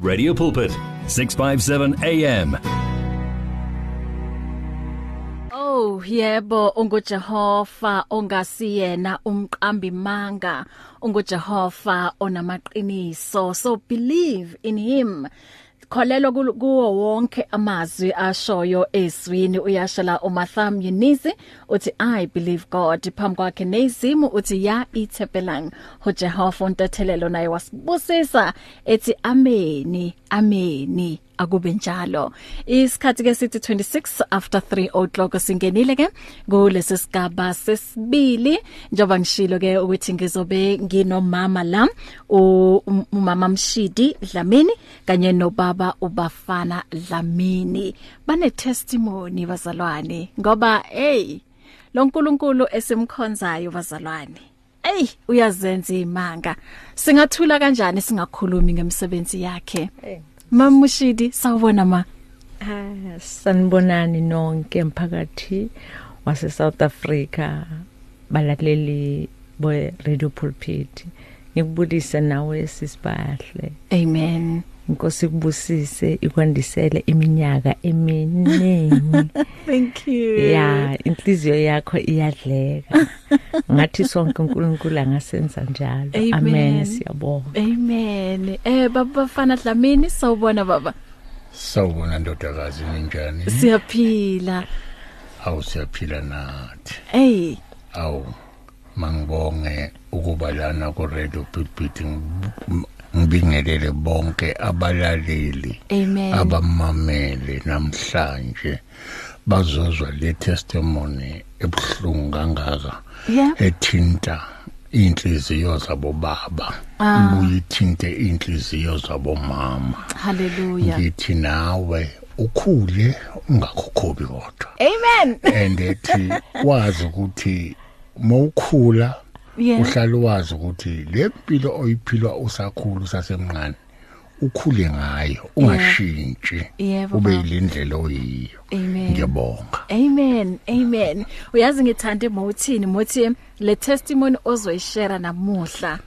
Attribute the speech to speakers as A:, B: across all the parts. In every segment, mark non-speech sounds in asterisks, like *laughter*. A: Radio Pulpit, 657 AM.
B: Oh yebo unguJehova ongasiyena umqambi manga unguJehova onamaqiniso so believe in him kholelwa ku- kuwo wonke amazwi ashoyo ezwini uyashala uMatham Unizi uthi i believe god phambi kwakhe nezimu uthi ya ithepelang uJehova ontathelelo naye wasibusisa ethi ameni ameni akube njalo isikhathi ke sithi 26 after 3 o'clock singenile ke kulesi sigaba sesibili njoba ngishilo ke ukuthi ngizobe nginomama la u- um- umama Mshidi Dlamini kanye nobaba ubafana Dlamini bane testimony bazalwane ngoba hey lo nkulunkulu esimkhonzayo bazalwane Ey uyazenza imanga singathula kanjani singakhulumi ngemsebenzi yakhe Mamushidi sawubona ma
C: Ah, sanibonani nonke emphakathi wase South Africa balaleli bo Radio Pulpit ngikubulise nawe sisibahle
B: Amen
C: inkosi kubusise ikwandisele iminyaka eminingi
B: Thank you
C: ya inhliziyo yakho iyadleka ngathi sonke uNkulunkulu angasenza njalo
B: Amen.
C: amen siyabonga
B: Amen eh baba bafana Dlamini sawubona baba
D: sawubona ndodakazi ninjani
B: siyaphila
D: awu siyaphila nathi
B: hey
D: awu mangibonge ukuba lana ku-radio pitpit ngibingelele bonke abalaleli
B: amen
D: abamamele namhlanje bazozwa le testimony ebuhlungu kangaka
B: yeah
D: ethinta iy'nhliziyo zabo baba
B: Ah.
D: ibuye ithinte iy'nhliziyo zabomama
B: hallelujah
D: ngithi nawe ukhule ungakhokhobi kodwa
B: amen
D: and ethi wazi ukuthi mawukhula
B: yeah
D: uhlala wazi ukuthi le mpilo oyiphilwa usakhulu usasemncane ukhule ngayo ungashintshi
B: Yebo,
D: ube
B: baba.
D: yilendlela oyiyo
B: amen
D: ngiyabonga
B: Amen. Amen. Uyazi ngithande mawuthini mothi le testimony ozoyishare namuhla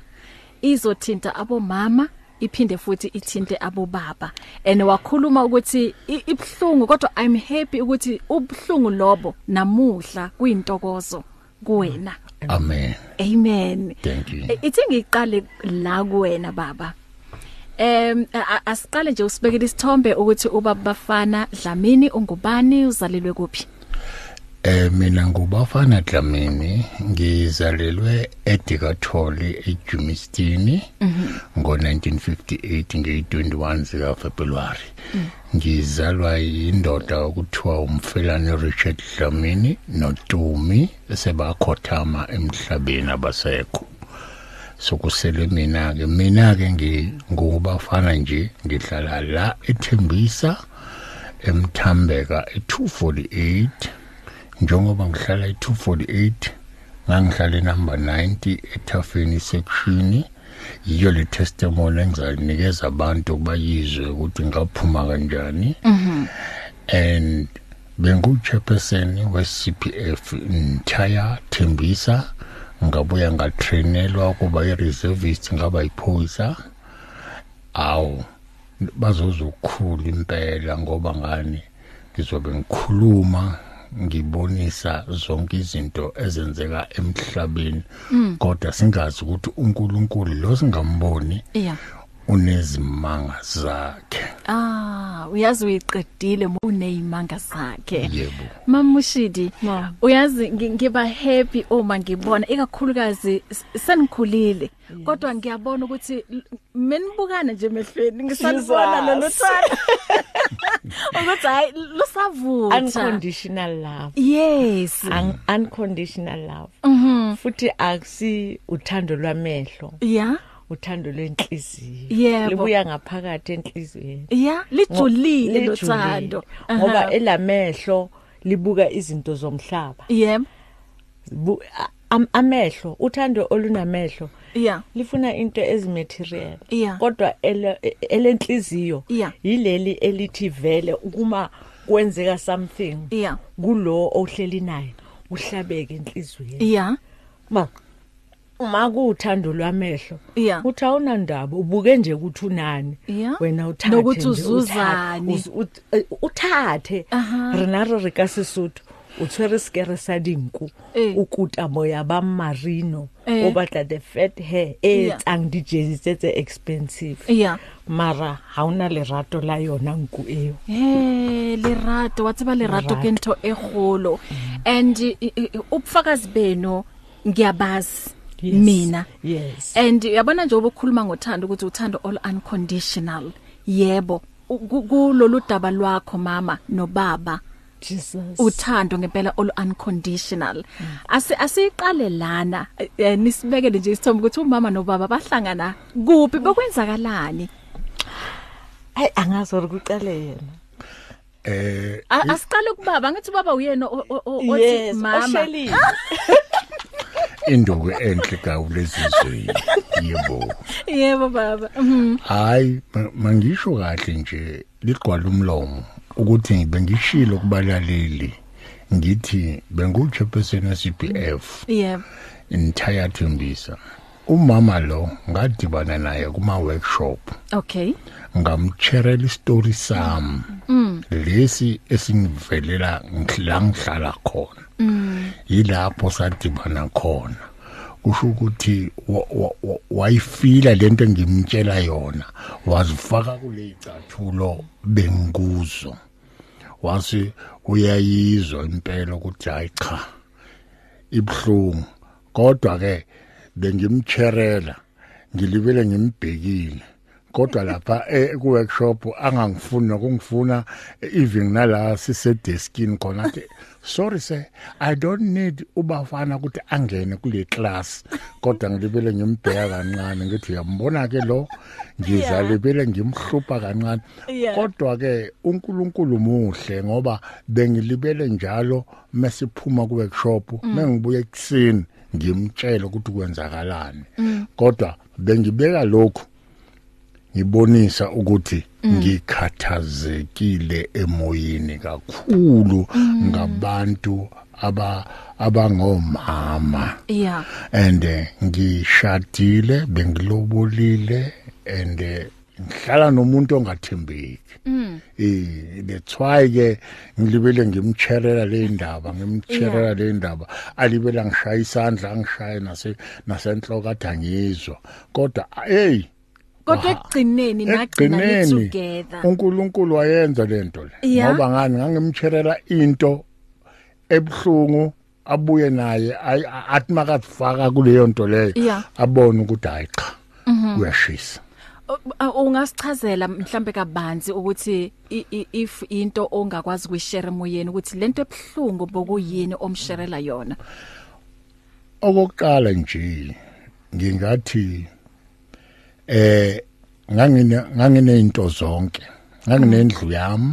B: izothinta abomama iphinde futhi ithinte abobaba and wakhuluma ukuthi i- ibhlungu kodwa I'm happy ukuthi ubhlungu lobo namuhla kuyintokozo kuwena.
D: amen
B: Amen.
D: thank you
B: Eh, Ithi ngiqale la kuwena baba. Em a- a- asiqale nje usibekele isithombe ukuthi ubaba bafana Dlamini ungubani uzalelwe kuphi?
D: Eh mina ngubafana Dlamini ngizalelwe eDikatholi eJumistini ngo1958 nge21 zikaFebruary ngizalwa yindoda okuthiwa umfelane Richard Dlamini noTumi sebakhothama emhlabeni abasekho sokusele mina ke mina ke ngingubafana nje ngihlala la eThembisa emthambeka e248 njengoba ngihlala e248 ngangihlala number 90 ethafeni section yiyo le testimony engizanikeza abantu bayizwe ukuthi ngaphuma kanjani and bengu chairperson we CPF entire Thembisa ngabuya ngatrainelwa ukuba i reservist ngaba iphoyisa awu bazozokhula impela ngoba ngani ngizobe ngikhuluma ngibonisa zonke izinto ezenzeka emhlabeni kodwa singazi ukuthi uNkulunkulu lo singamboni
B: Yeah.
D: unezimanga zakhe
B: Ah, uyazi uyiqedile mo- uneyimanga zakhe.
D: yebo
B: Mamushidi,
C: Ma.
B: uyazi ngi- ngiba happy uma ngibona ikakhulukazi s- senikhulile. Kodwa ngiyabona ukuthi l- menibukana nje emehlweni ngisalibona
C: Jesus.
B: loluthwana. *laughs* Ukuthi hayi lusavutha.
C: unconditional love
B: Yes.
C: Un unconditional love
B: Mm-hmm.
C: futhi akusi uthando lwamehlo
B: Yeah.
C: uthando lwenhliziyo
B: Yebo.
C: libuya ngaphakathi enhliziyweni
B: Yeah, lijulile
C: Ngo-
B: lothando.
C: lijulile. ngoba
B: Aha.
C: elamehlo libuka izinto zomhlaba
B: Yebo.
C: Bu- a- am- amehlo uthando olunamehlo
B: Yeah.
C: lifuna into ezimaterial
B: Yeah.
C: kodwa ele- e- elenhliziyo
B: Yeah.
C: yileli elithi vele ukuma kwenzeka something
B: Yeah.
C: kulo ohleli naye uhlabeke enhliziyweni
B: Yeah.
C: ma uma kuuthando lwamehlo
B: Yeah.
C: uthi awunandaba ubuke nje ukuthi unani
B: Yeah.
C: wena uthathe
B: Nokuthi
C: nje, uthathe,
B: uzuzani.
C: uz- ut- eh, uthathe
B: Aha.
C: rena re re ka sesotho o tshwere sekere sa dinku
B: Eh.
C: o kuta boya ba marino
B: Eh.
C: o batla the fat hair e
B: Yeah.
C: etsang dijesi tse tse expensive
B: Yeah.
C: mara ga o na lerato la yona nku eo
B: Eh lerato wa tseba lerato ke ntho e golo and eh, eh, ubufakazi benu ngiyabazi
C: Yes,
B: mina Eh,
C: yes.
B: and yabona nje obukhuluma ngothando ukuthi uthando all unconditional yebo u- ku- kulolu daba lwakho mama nobaba
C: jesus
B: uthando ngempela olu unconditional asi asiqale lana eh, eh, nisibekele nje isithombe ukuthi umama nobaba bahlangana kuphi bekwenzakalani
C: hayi angazi ore kuqale yena
D: eh
B: A- asiqale kubaba ngathi ubaba uyena o- o- o- othi
C: yes
B: mama
C: oshelile
D: induku enhle gawu lezizwe yebo
B: yebo baba Mhm.
D: hayi ma- mangisho kahle nje ligqwala umlomo ukuthi bengishilo kubalaleli ngithi bengu chairperson CPF
B: yebo
D: entire Thumbisa umama lo ngadibana naye kuma workshop
B: okay
D: ngamcherela story sami lesi esingivelela ngihlala khona yilapho sadibana khona kusho ukuthi wa- wa- wa- wayifila lento engimtshela yona wazifaka kule icathulo benguzo wasi uyayizwa impela ukuthi hayi cha ibhlungu kodwa ke bengimcherela ngilibele ngimbhekile kodwa lapha eh, ku workshop angangifuni nokungifuna eh, even nala sisedeskini khona ke sorry sir i don't need ubafana ukuthi angene kule class kodwa ngilibele ngimbheka kancane ngithi uyambona ke lo ngizalibele ngimhlupa kancane
B: Yeah.
D: kodwa ke uNkulunkulu muhle ngoba bengilibele njalo mesiphuma ku workshop mengibuye ekseni ngimtshela ukuthi kwenzakalani kodwa bengibeka lokho ngibonisa ukuthi ngikhathazekile emoyeni kakhulu ngabantu aba abangomama
B: yeah
D: and eh, ngishadile bengilobolile and eh, ngihlala nomuntu ongathembeki eh bethwaye ke ngilibele ngimcherela le ndaba ngimcherela le ndaba alibela ngishaya isandla angishaye nase nasenhloko adangizwa kodwa hey
B: kodwa
D: Aha.
B: ekugcineni nagcina ni together
D: uNkulunkulu wayenza lento le
B: Yeah.
D: ngoba ngani ngangimcherela into ebhlungu abuye naye ay- a- athi makazifaka kuleyo nto leyo
B: Yeah.
D: abone ukuthi hayi cha kuyashisa
B: U- u- ungasichazela mhlambe kabanzi ukuthi i- i- if into ongakwazi kuyishare emoyeni ukuthi lento ebhlungu bokuyini omsherela yona
D: okokuqala nje ngingathi eh ngangine ngangine into zonke nganginendlu yami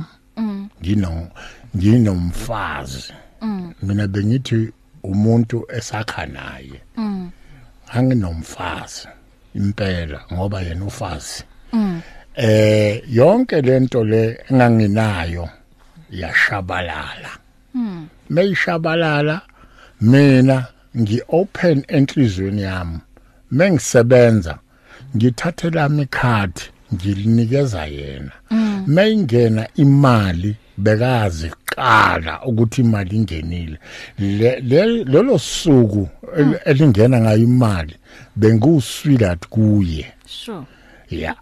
D: ngino nginomfazi mina bengithi umuntu esakha naye nganginomfazi impela ngoba yena ufazi eh yonke lento le enganginayo yashabalala mayishabalala mina ngiopen enhlizweni yami mengisebenza ngithathe lami ikhadi ngilinikeza yena mayingena imali bekazi qala ukuthi imali ingenile Le- le- lelo suku el- elingena ngayo imali bengiwuswilat kuye
B: sure
D: ya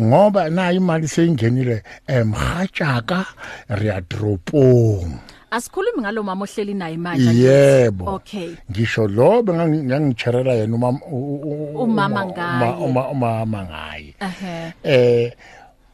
D: ngoba nayo imali seyingenile eh, emhatshaka riyadropong
B: asikhulumi ngalo mama ohleli naye manje
D: yebo
B: okay
D: ngisho lo bengangicherela yena umama u- u- u-
B: Umama
D: uma-
B: ngaye.
D: uma- uma- umama ngaye
B: ehe
D: eh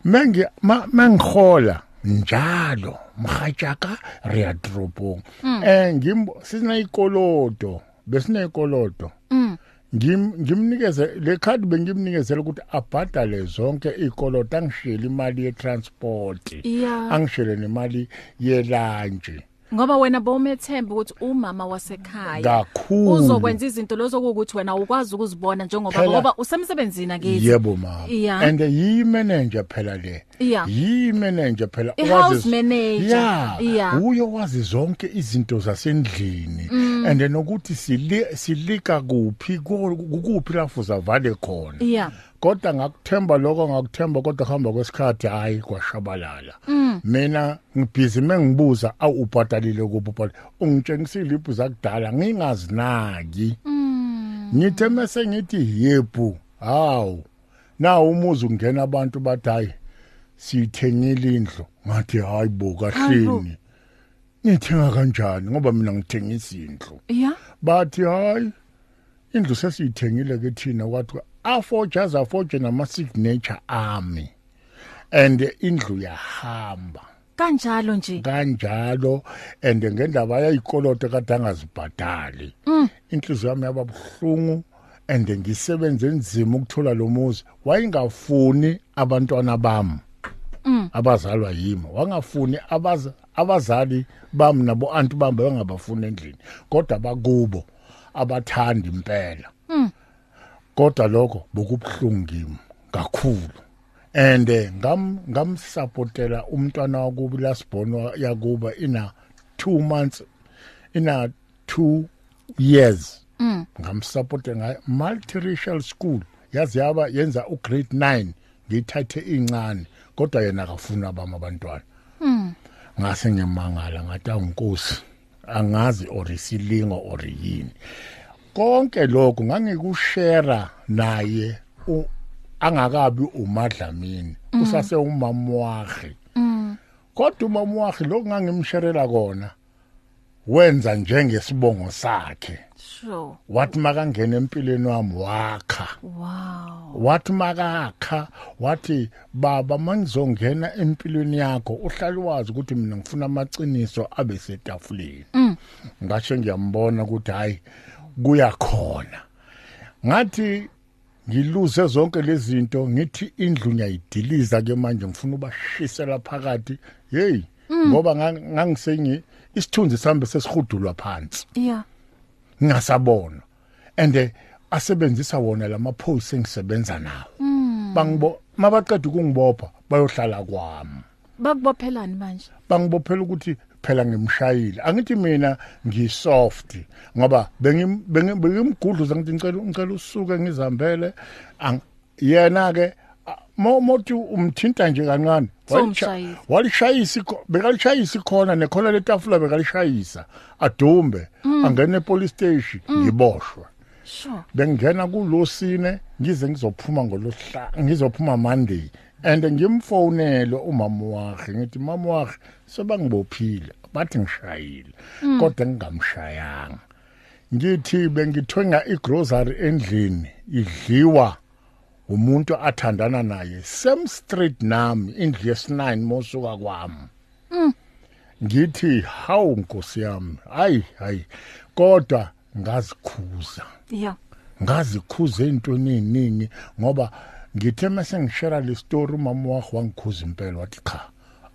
D: mengi ma- mangihola njalo mhajaka riya dropong
B: Mm.
D: eh ngimbo sina ikolodo besine ikolodo
B: Mm.
D: ngim ngimnikeze le card bengimnikezele ukuthi abhadale zonke ikolodo angishiyele imali ye transport
B: Yeah.
D: angishele nemali ye lunch
B: ngoba wena bowumethemba ukuthi umama wasekhaya
D: kakhulu
B: uzokwenza izinto lezo ukuthi wena ukwazi ukuzibona njengoba
D: Phela-
B: ngoba usemsebenzini akithi
D: yebo mama
B: Yeah.
D: and yi manager phela le
B: Yeah.
D: yi manager phela
B: I-house
D: owazi-
B: manager. Yeah.
D: yeah uyo wazi zonke izinto zasendlini
B: Mm.
D: and nokuthi sili- silika kuphi ku- kuphi lafu zavale khona
B: Yeah.
D: kodwa ngakuthemba lokho ngakuthemba kodwa kuhamba kwesikhathi hayi kwashabalala mina ngibhizi mengibuza awu ubhadalile kuphi ubhadalile ungitshengisile ibhuza kudala ngingazinaki ngithe mase ngithi yebhu hawu na umuzi ungena abantu bathi hayi siyithengile indlu ngathi hayi bo kahleni nithenga kanjani ngoba mina ngithengisa indlu
B: yeah
D: bathi hayi indlu sesiyithengile ke thina kwathi afoja azafoje nama-signature ami and indlu yahamba
B: kanjalo nje
D: kanjalo and ngendaba yayikoloto kade angazibhadali inhliziyo yami yaba buhlungu and ngisebenze nzima ukuthola lo muzi wayengafuni abantwana bami abazalwa yimi wangafuni abaz- abazali bami nabo anti bami bengabafuni endlini kodwa bakubo abathandi impela kodwa lokho bokubhlungu kimi kakhulu and eh, ngam ngamsupportela umntwana wakubo lasibhonwa yakuba ina 2 months ina 2 years ngamsupporte ngaye multiracial school yazi yaba yenza ugrade 9 ngiyithathe incane kodwa yena akafuni abami abantwana ngase ngiyamangala ngathi awunkosi angazi or isilingo or yini konke lokho ngangikushera naye u- angakabi umadlamini usase umamwahi kodwa umamwahi lokungangimsherela kona wenza njengesibongo sakhe
B: sure
D: wathi makangena empilweni wami wakha
B: wow
D: wathi makakha wathi baba mangizongena empilweni yakho uhlale wazi ukuthi mina ngifuna amaciniso abe setafuleni ngasho ngiyambona ukuthi hayi kuya khona ngathi ngiluze zonke lezi zinto ngithi indlu ngiyayidiliza ke manje ngifuna ubashisela phakathi hey ngoba ngang- ngangisengi isithunzi sambe sesihudulwa phansi
B: yeah
D: ngasabona and eh, asebenzisa wona lama posts engisebenza nawo bangibo mabaqeda ukungibopha bayohlala kwami
B: bakubophelani manje
D: bangibophela ukuthi phela ngimshayile angithi mina ngisoft ngoba bengi- bengi- bengimgudluza ngithi ngicela ngicela usuke ngizihambele Ang- yena ke mothi umthinta nje kancane walisha-
B: Sowumshayisa.
D: walishayisa ikho- bekalishayisa ikhona nekhona letafula bekalishayisa adumbe angene epolice station ngiboshwe
B: sure
D: bengena kulosine ngize ngizophuma ngolosihlanu ngizophuma monday and ngimfonele umama wakhe ngithi mama wakhe sebangibophile bathi ngishayile kodwa ngingamshayanga ngithi bengithenga igrocery endlini idliwa umuntu athandana naye same street nami indlu yes9 mosuka kwami ngithi hawu nkosi yami hayi hayi kodwa ngazikhuza
B: yeah
D: ngazikhuza intweni eziningi ngoba ngithe mase ngishara le story umama wakho wangikhuza impela wathi cha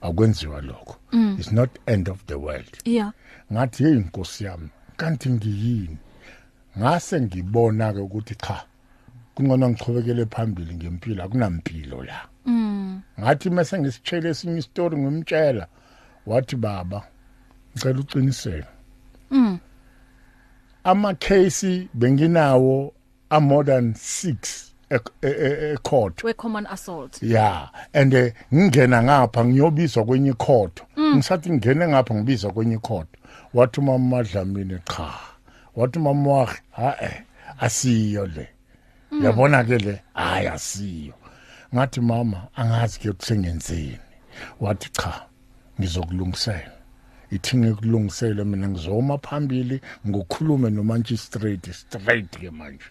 D: akwenziwa lokho it's not end of the world
B: yeah
D: ngathi hey inkosi yami kanti ngiyini ngase ngibona ke ukuthi cha kungcono ngichobekele phambili ngempilo akunampilo la ngathi mase ngisitshela esinye istory ngimtshela wathi baba ngicela uqiniseke ama case benginawo a more than 6 e e- e- court
B: we common assault
D: ya and eh, ngingena ngapha ngiyobizwa kwenye ikhodo ngisathi ngingene ngapha ngibizwa kwenye ikhodo wathi mama madlamini cha wathi mama wahi ha-e asiyo le yabona ke le hhayi asiyo ngathi mama angazi ke kusengenzeni wathi cha ngizokulungisela ithi ngikulungisele mina ngizoma phambili ngokhulume nomantshi straight straight ke manje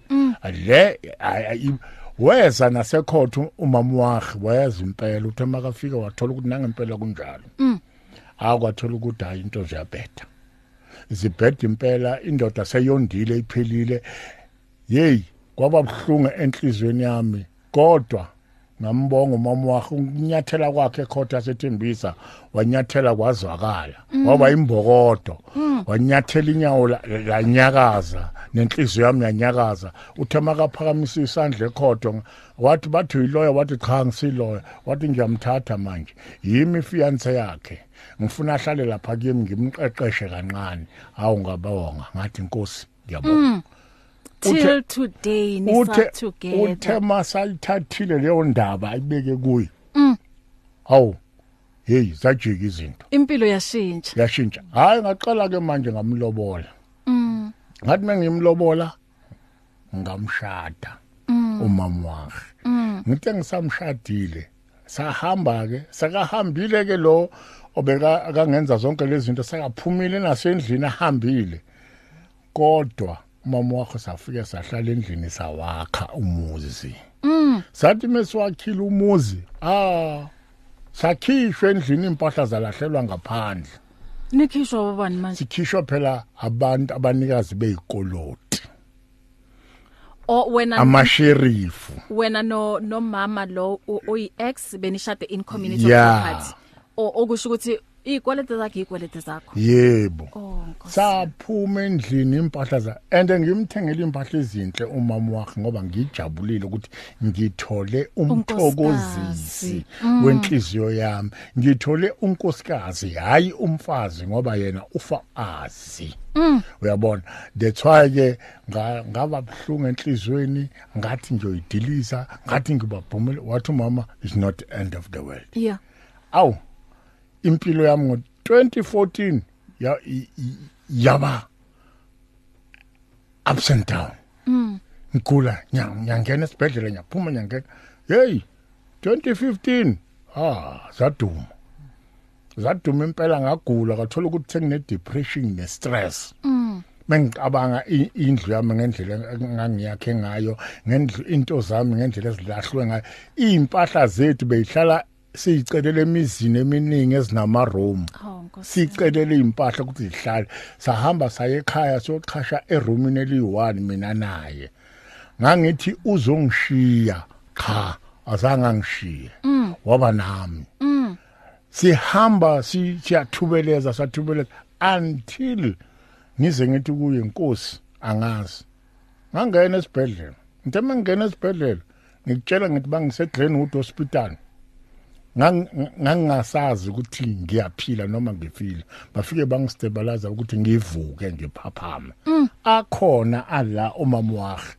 D: le ay- ay- weza nasekhotho umama wakhe wayazi impela uthe makafika wathola ukuthi nangempela kunjalo akwathola ukuthi hayi into ziyabheda zibheda impela indoda seyondile iphelile yeyi kwaba buhlungu enhlizweni yami kodwa ngambonga umama wakhe ukunyathela kwakhe ekhotha sethembisa wanyathela kwazwakala waba imbokodo wanyathela inyawo la- lanyakaza nenhliziyo yami yanyakaza uthe makaphakamisa isandla ekhodo ng- wathi bathi uyiloya wathi cha ngisiloya wathi ngiyamthatha manje yimi ifiyanse yakhe ngifuna ahlale lapha kimi ngimqeqeshe kancane hawu ngabonga ngathi inkosi ngiyabonga
B: till today nisa
D: uthe
B: together
D: uthe masalithathile leyo ndaba ayibeke kuye hawu hey zajika izinto
B: impilo yashintsha
D: yashintsha hayi ngaqala ke manje ngamlobola ngathi mengimlobola ngamshada umama wakhe ngithe ngisamshadile sahamba ke sakahambile ke lo obeka akangenza zonke lezi zinto sakaphumile nasendlini ahambile kodwa umama wakho safika sahlala endlini sawakha umuzi sathi mesiwakhile umuzi ah sakhishwe endlini impahla zalahlelwa ngaphandle
B: nikhishwa bobani manje
D: sikhishwa phela abantu abanikazi beyikoloti
B: o wena
D: amasherifu
B: wena no nomama lo u- oyi ex benishade in community
D: Yeah.
B: property o okusho ukuthi ikwalete zakhe ikwalete zakho
D: yebo
B: oh nkosi
D: saphuma endlini impahla za and ngimthengele impahla ezinhle umama wakhe ngoba ngijabulile ukuthi ngithole umthokozisi wenhliziyo yami ngithole unkosikazi hayi umfazi ngoba yena ufa azi uyabona that's why ke nga- ngaba buhlungu enhlizweni ngathi ngiyoyidiliza ngathi ngibabhumele wathi umama is not the end of the world
B: yeah
D: awu impilo yami ngo 2014 ya i- i- yaba ups and down mm ngikula nya- nyangena esibhedlela nyaphuma nyangena hey 2015 ah zaduma zaduma impela ngagula ngathola ukuthi sengine depression ne stress mengicabanga i- indlu yami ngendlela engangiyakhe ngayo ngendlu into zami ngendlela ezilahlwe ngayo impahla zethu beyihlala siyicelele emizini eminingi ezinama room
B: oh nkosi
D: sicelele impahla ukuthi zihlale sahamba saye ekhaya siyochasha eroomini eliyi-1 mina naye ngangithi uzongishiya cha azange angishiye waba nami sihamba si- siyathubeleza sathubeleza until ngize ngithi kuye inkosi angazi ngangena esibhedlela ngithe uma ngingena esibhedlela ngikutshela ngithi bangiseglenwood hospital Ngang- ngangingasazi ukuthi ngiyaphila noma ngifile bafike bangistabalaza ukuthi ngivuke ngiphaphame akhona ala umama wakhe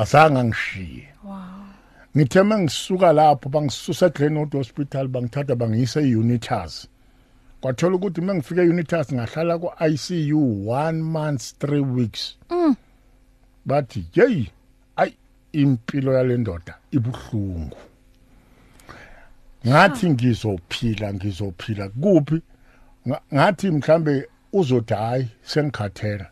D: azange angishiye ngithe mangisuka lapho bangisusa eGlenwood Hospital bangithatha bangiyisa eUnitas kwathola ukuthi mangifika eUnitas ngahlala ku ICU 1 month 3 weeks bathi hey ay impilo yalendoda ibuhlungu ngathi ngizophila ngizophila kuphi Nga- ngathi mhlambe uzodayi sengikhathela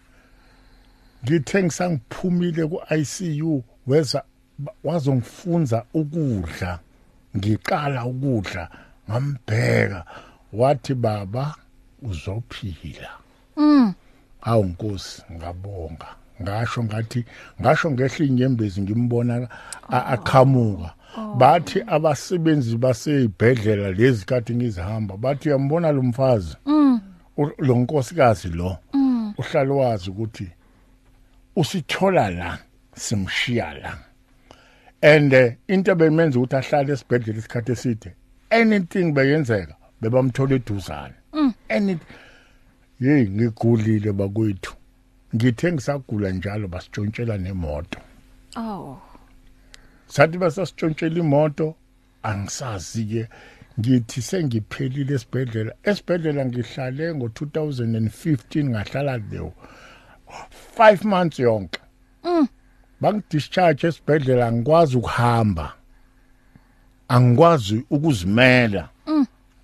D: ngithe ngisangiphumile ku-ICU weza ba- wazongifunza ukudla ngiqala ukudla ngambheka wathi baba uzophila awu nkosi ngabonga ngasho ngathi ngasho ngehle inyembezi ngimbona a- aqhamuka bathi abasebenzi baseyibhedlela lezi kathi ngizihamba bathi uyambona lo mfazi u- lo nkosikazi lo uhlale wazi ukuthi usithola la simshiya la and eh, into bemenza ukuthi ahlale esibhedlela isikhathi eside anything beyenzeka bebamthola eduzane anything hey ngigulile bakwethu ngithe ngisagula njalo basitshontshela nemoto
B: oh
D: sathi basasitshontshela imoto angisazi ke ngithi sengiphelile esibhedlela esibhedlela ngihlale ngo2015 ngahlala leyo 5 months yonke bangidischarge esibhedlela angikwazi ukuhamba angikwazi ukuzimela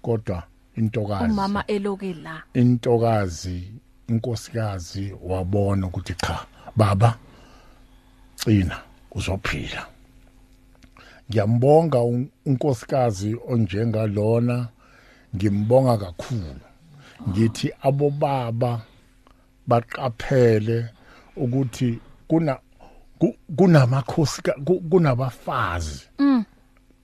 D: kodwa intokazi
B: umama eloke la
D: intokazi inkosikazi wabona ukuthi cha baba cina uzophila ngiyambonga un- unkosikazi onjengalona ngimbonga kakhulu ngithi abobaba baqaphele ukuthi kuna ku- kunamakhosika ku- kunabafazi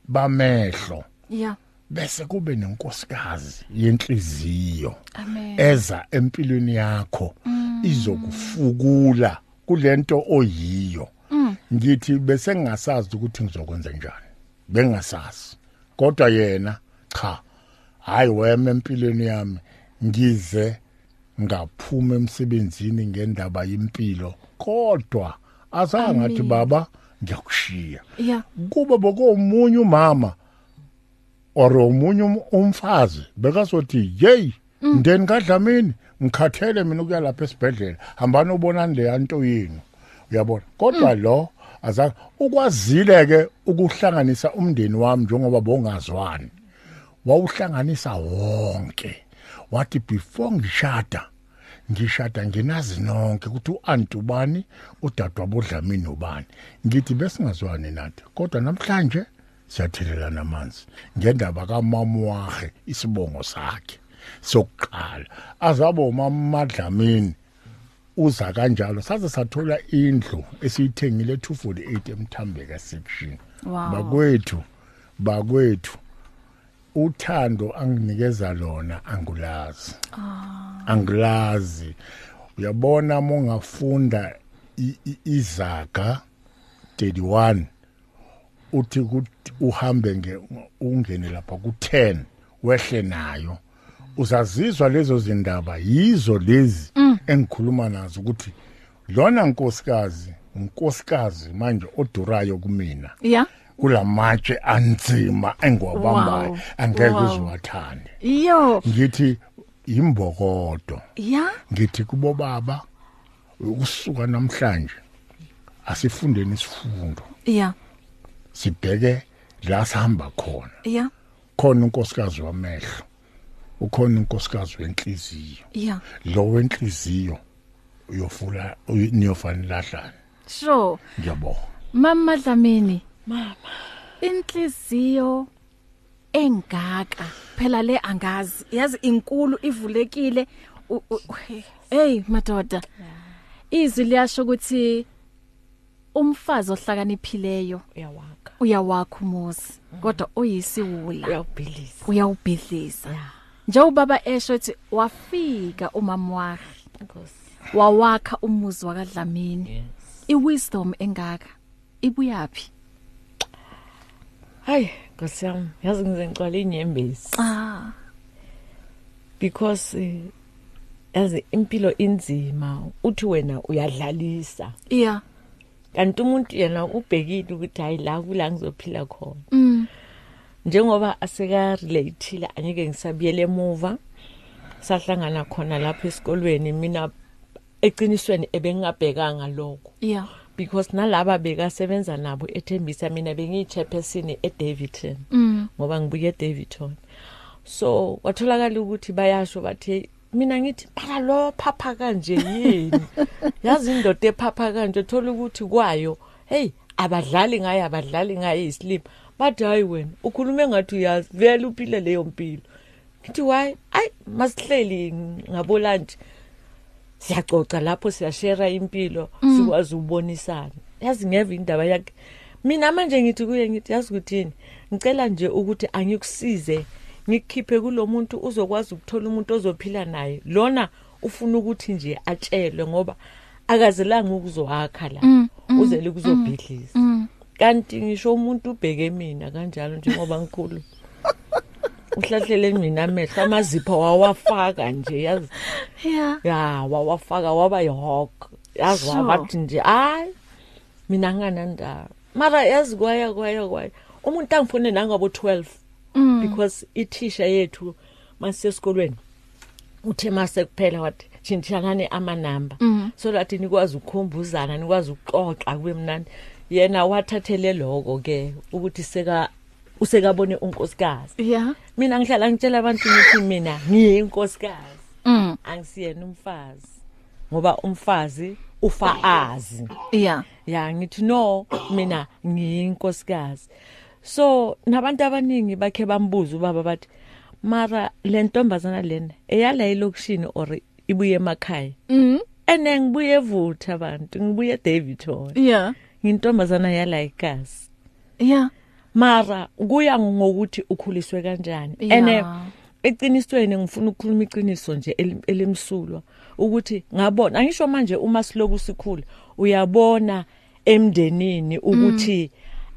D: bamehlo
B: yeah
D: bese kube nenkosikazi yenhliziyo
B: amen
D: eza empilweni yakho izokufukula kulento oyiyo ngithi bese ngingasazi ukuthi ngizokwenza njani bengasazi kodwa yena cha hayi wema empilweni yami ngize ngaphuma emsebenzini ngendaba yimpilo kodwa azange ngathi
B: Amen.
D: baba ngiyakushiya
B: yeah
D: kuba bokomunye umama or umunye um- umfazi bekazothi hey ndeni kadlamini ngikhathele mina ukuya lapha esibhedlela hambani ubonani le nto yini uyabona kodwa lo azange ukwazile ke ukuhlanganisa umndeni wami njengoba bongazwani wawuhlanganisa wonke wathi before ngishada ngishada nginazi nonke ukuthi uantu bani udadwa bodlamini ubani ngithi besingazwani nathi kodwa namhlanje siyathelelana amanzi ngendaba kamamwahe isibongo sakhe sokuqala azabo umamadlamini uza kanjalo saze sathola indlu esiyithengile 248 emthambeka section
B: Wow.
D: bakwethu bakwethu uthando anginikeza lona angulazi angulazi uyabona mongafunda izaga 31 uthi ku- uhambe nge ungene lapha ku10 wehle nayo uzazizwa lezo zindaba yizo lezi engikhuluma nazo ukuthi lona nkosikazi unkosikazi manje odurayo kumina
B: yeah
D: kulamatshe anzima engiwabambayo
B: Wow.
D: angeke
B: Wow.
D: uziwathande
B: yo
D: ngithi imbokodo
B: yeah
D: ngithi kubo baba ukusuka namhlanje asifundeni isifundo
B: yeah
D: sibheke la sihamba khona
B: yeah
D: khona unkosikazi wamehlo ukhona unkosikazi wenhliziyo
B: yeah
D: lo wenhliziyo uyofula niyofanele lahlane
B: sure
D: ngiyabonga
B: mama dlamini mama inhliziyo engaka phela le angazi yazi inkulu ivulekile u- u- u- hey madoda izwi liyasho ukuthi umfazi ohlakaniphileyo
C: uyawaka
B: uyawakha umuzi kodwa uyisiwula
C: uyawubhilisa
B: uyawubhidliza njengoba esho ethi wafika umama wakhe
C: nkosi
B: wawakha umuzi wakadlamini
C: yes
B: iwisdom engaka ibuyaphi
C: hayi nkosi yami yazi ngize ngicwale inyembezi
B: ah
C: because eh, yazi impilo inzima uthi wena uyadlalisa
B: yeah
C: kanti umuntu yena ubhekile ukuthi hayi la kula ngizophila khona
B: mm
C: njengoba aseka-relate-ile angeke ngisabuyele emuva sahlangana khona lapho esikolweni mina eqinisweni ebengingabhekanga lokho
B: yeah
C: because nalaba bekasebenza nabo ethembisa mina bengiyi-chairperson edavidton
B: mm
C: ngoba ngibuye edavidton so kwatholakala ukuthi bayasho bathi "Hey, mina ngithi bala lo phapha kanje yini yazi indoda ephapha kanje thola ukuthi kwayo heyi abadlali ngayo abadlali ngayo iyisilima bathi hhayi wena ukhulume ngathi uyazi vele uphile leyo mpilo ngithi hhayi ayi masihleli ngabolanje siyacoca lapho siyashera impilo sikwazi ukubonisana yazi ngeva indaba yakhe mina manje ngithi kuye ngithi yazi ukuthini ngicela nje ukuthi angikusize ngikukhiphe kulo muntu uzokwazi ukuthola umuntu ozophila naye lona ufuna ukuthi nje atshelwe ngoba akazelanga ukuzowakha la uzele ukuzobhidlisa kanti ngisho umuntu ubheke mina kanjalo njengoba ngikhulu uhlahlele mina amehlo amazipho wawafaka nje yazi
B: yeah
C: ya wawafaka waba yihok yazi
B: Sure.
C: wabathi nje hayi mina nganandaba mara yazi kwaya kwaya kwaya umuntu angifune nangabo-12 mm. because ithisha yethu masisesikolweni uthe mase kuphela wathi tshintshanani amanamba mm. so that nikwazi ukukhumbuzana nikwazi ukuxoxa kube mnandi yena wathathele loko ke ukuthi seka usekabone unkosikazi
B: yeah
C: mina ngihlala ngitshela abantu ukuthi mina ngiyinkosikazi
B: mm
C: angisiyena umfazi ngoba umfazi ufa azi
B: yeah
C: ya ngithi no mina ngiyinkosikazi so nabantu abaningi bakhe bambuza ubaba bathi mara le ntombazana lena eyala elokishini or ibuye emakhaya
B: mm
C: ene ngibuye evutha abantu ngibuye edavidton
B: yeah
C: ngiyintombazana yala ikazi
B: yeah
C: mara kuya ngokuthi ukhuliswe kanjani
B: Yeah.
C: eqinisweni ngifuna ukukhuluma iqiniso nje eli- elimsulwa ukuthi ngabona angisho manje uma siloku sikhula uyabona emndenini ukuthi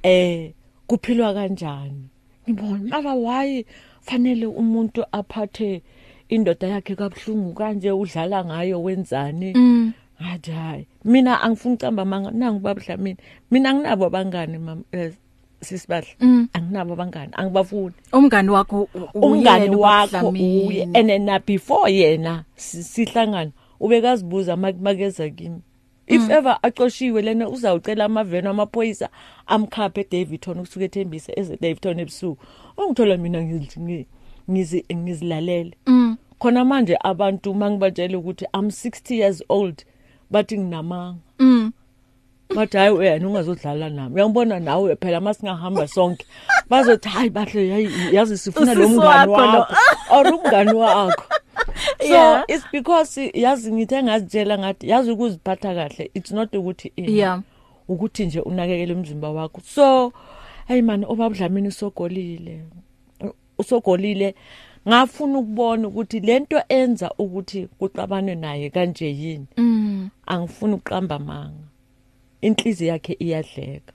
C: eh kuphilwa kanjani ngibona mara why fanele umuntu aphathe indoda yakhe kabhlungu kanje udlala ngayo wenzani hayi hayi mina angifuni ucamba manga nangu babhla mina mina anginabo abangani mama eh, sisibahle anginabo abangani angibafuni
B: umngani wakho u- u-
C: umngani
B: uyena
C: wakho
B: uBabudlamini.
C: uye and then na before yena si- sihlangana ubekazibuza makeza kimi if ever aqoshiwe lena uzawucela amaveni amaphoyisa amkhaphe eDavidton ukusuka ethembise eDavidton ebusuku ongithola mina ngiz- ngi- ngizi- ngizilalele khona manje abantu mangibatshela ukuthi i'm 60 years old bathi nginamanga bathi hayi wena ungazodlala nami uyangibona nawe phela uma singahamba sonke bazothi hayi bahle yayi, yazi sifuna lo
B: Usisi
C: mngani
B: wakho lo."
C: wakho or umngani
B: *laughs*
C: wakho so
B: Yeah.
C: it's because yazi ngithe ngazitshela ngathi yazi ukuziphatha kahle it's not ukuthi ini
B: Yeah.
C: ukuthi nje unakekele umzimba wakho so hey man obabudlamini usogolile usogolile ngafuna ukubona ukuthi lento enza ukuthi kuxabanwe naye kanje yini angifuni ukuqamba manga inhliziyo yakhe iyadleka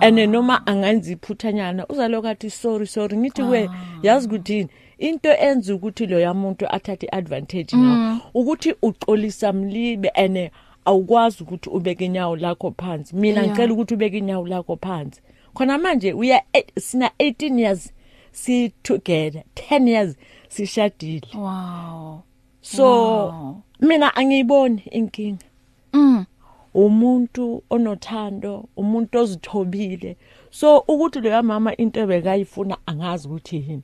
C: and noma angenza iphuthanyana uzaloku athi sorry sorry ngithi we yazi ukuthini into enza ukuthi loya muntu athathe i-advantage ngawo ukuthi uxolisa mlibe and awukwazi ukuthi ubeke inyawo lakho phansi mina
B: Yeah.
C: ngicela ukuthi ubeke inyawo lakho phansi khona manje uya eight- sina 18 years si-together 10 years sishadile
B: wow
C: so
B: Wow.
C: mina angiyiboni inkinga
B: mm
C: umuntu onothando umuntu ozithobile so ukuthi leya mama into ebekayifuna angazi ukuthi yini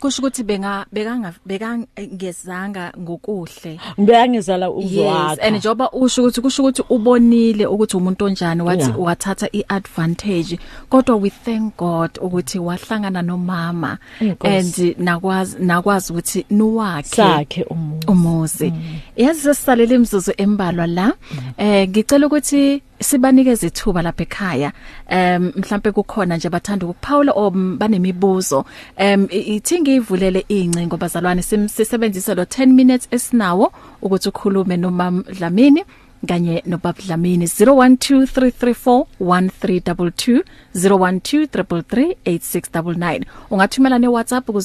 B: kusho ukuthi benga bekanga bekangezanga ngokuhle
C: ngibeyangizala
B: yes
C: uzwakha
B: and njoba usho ukuthi kusho ukuthi ubonile ukuthi umuntu onjani wathi
C: Yeah.
B: wathatha iadvantage kodwa we thank God ukuthi wahlangana nomama
C: Inkosi.
B: and nakwazi nakwazi ukuthi niwakhe
C: sakhe umuntu
B: umuzi yazi sesisalele imizuzu embalwa la eh ngicela ukuthi sibanikeze ithuba lapha ekhaya em mhlambe kukhona nje bathanda ukuphawula or m- banemibuzo em i- ithi ngivulele incingo bazalwane sim- sisebenzise lo 10 minutes esinawo ukuthi ukhulume nomam Dlamini kanye nobaba Dlamini 0123341322 0123338699 ungathumela neWhatsApp ku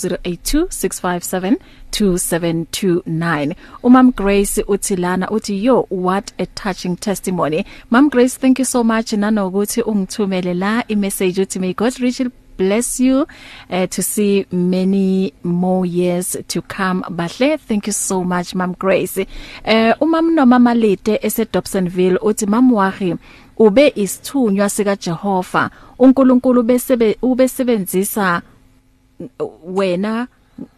B: 0826572729 umam Grace uthi lana uthi yo what a touching testimony mam Grace thank you so much nanokuthi ungithumele la imessage uthi may God richly bless you uh, to see many more years to come bahle thank you so much mam grace eh umam nomama lete esedobsonville uthi mam wahi ube isithunywa sika Jehova uNkulunkulu besebe ubesebenzisa wena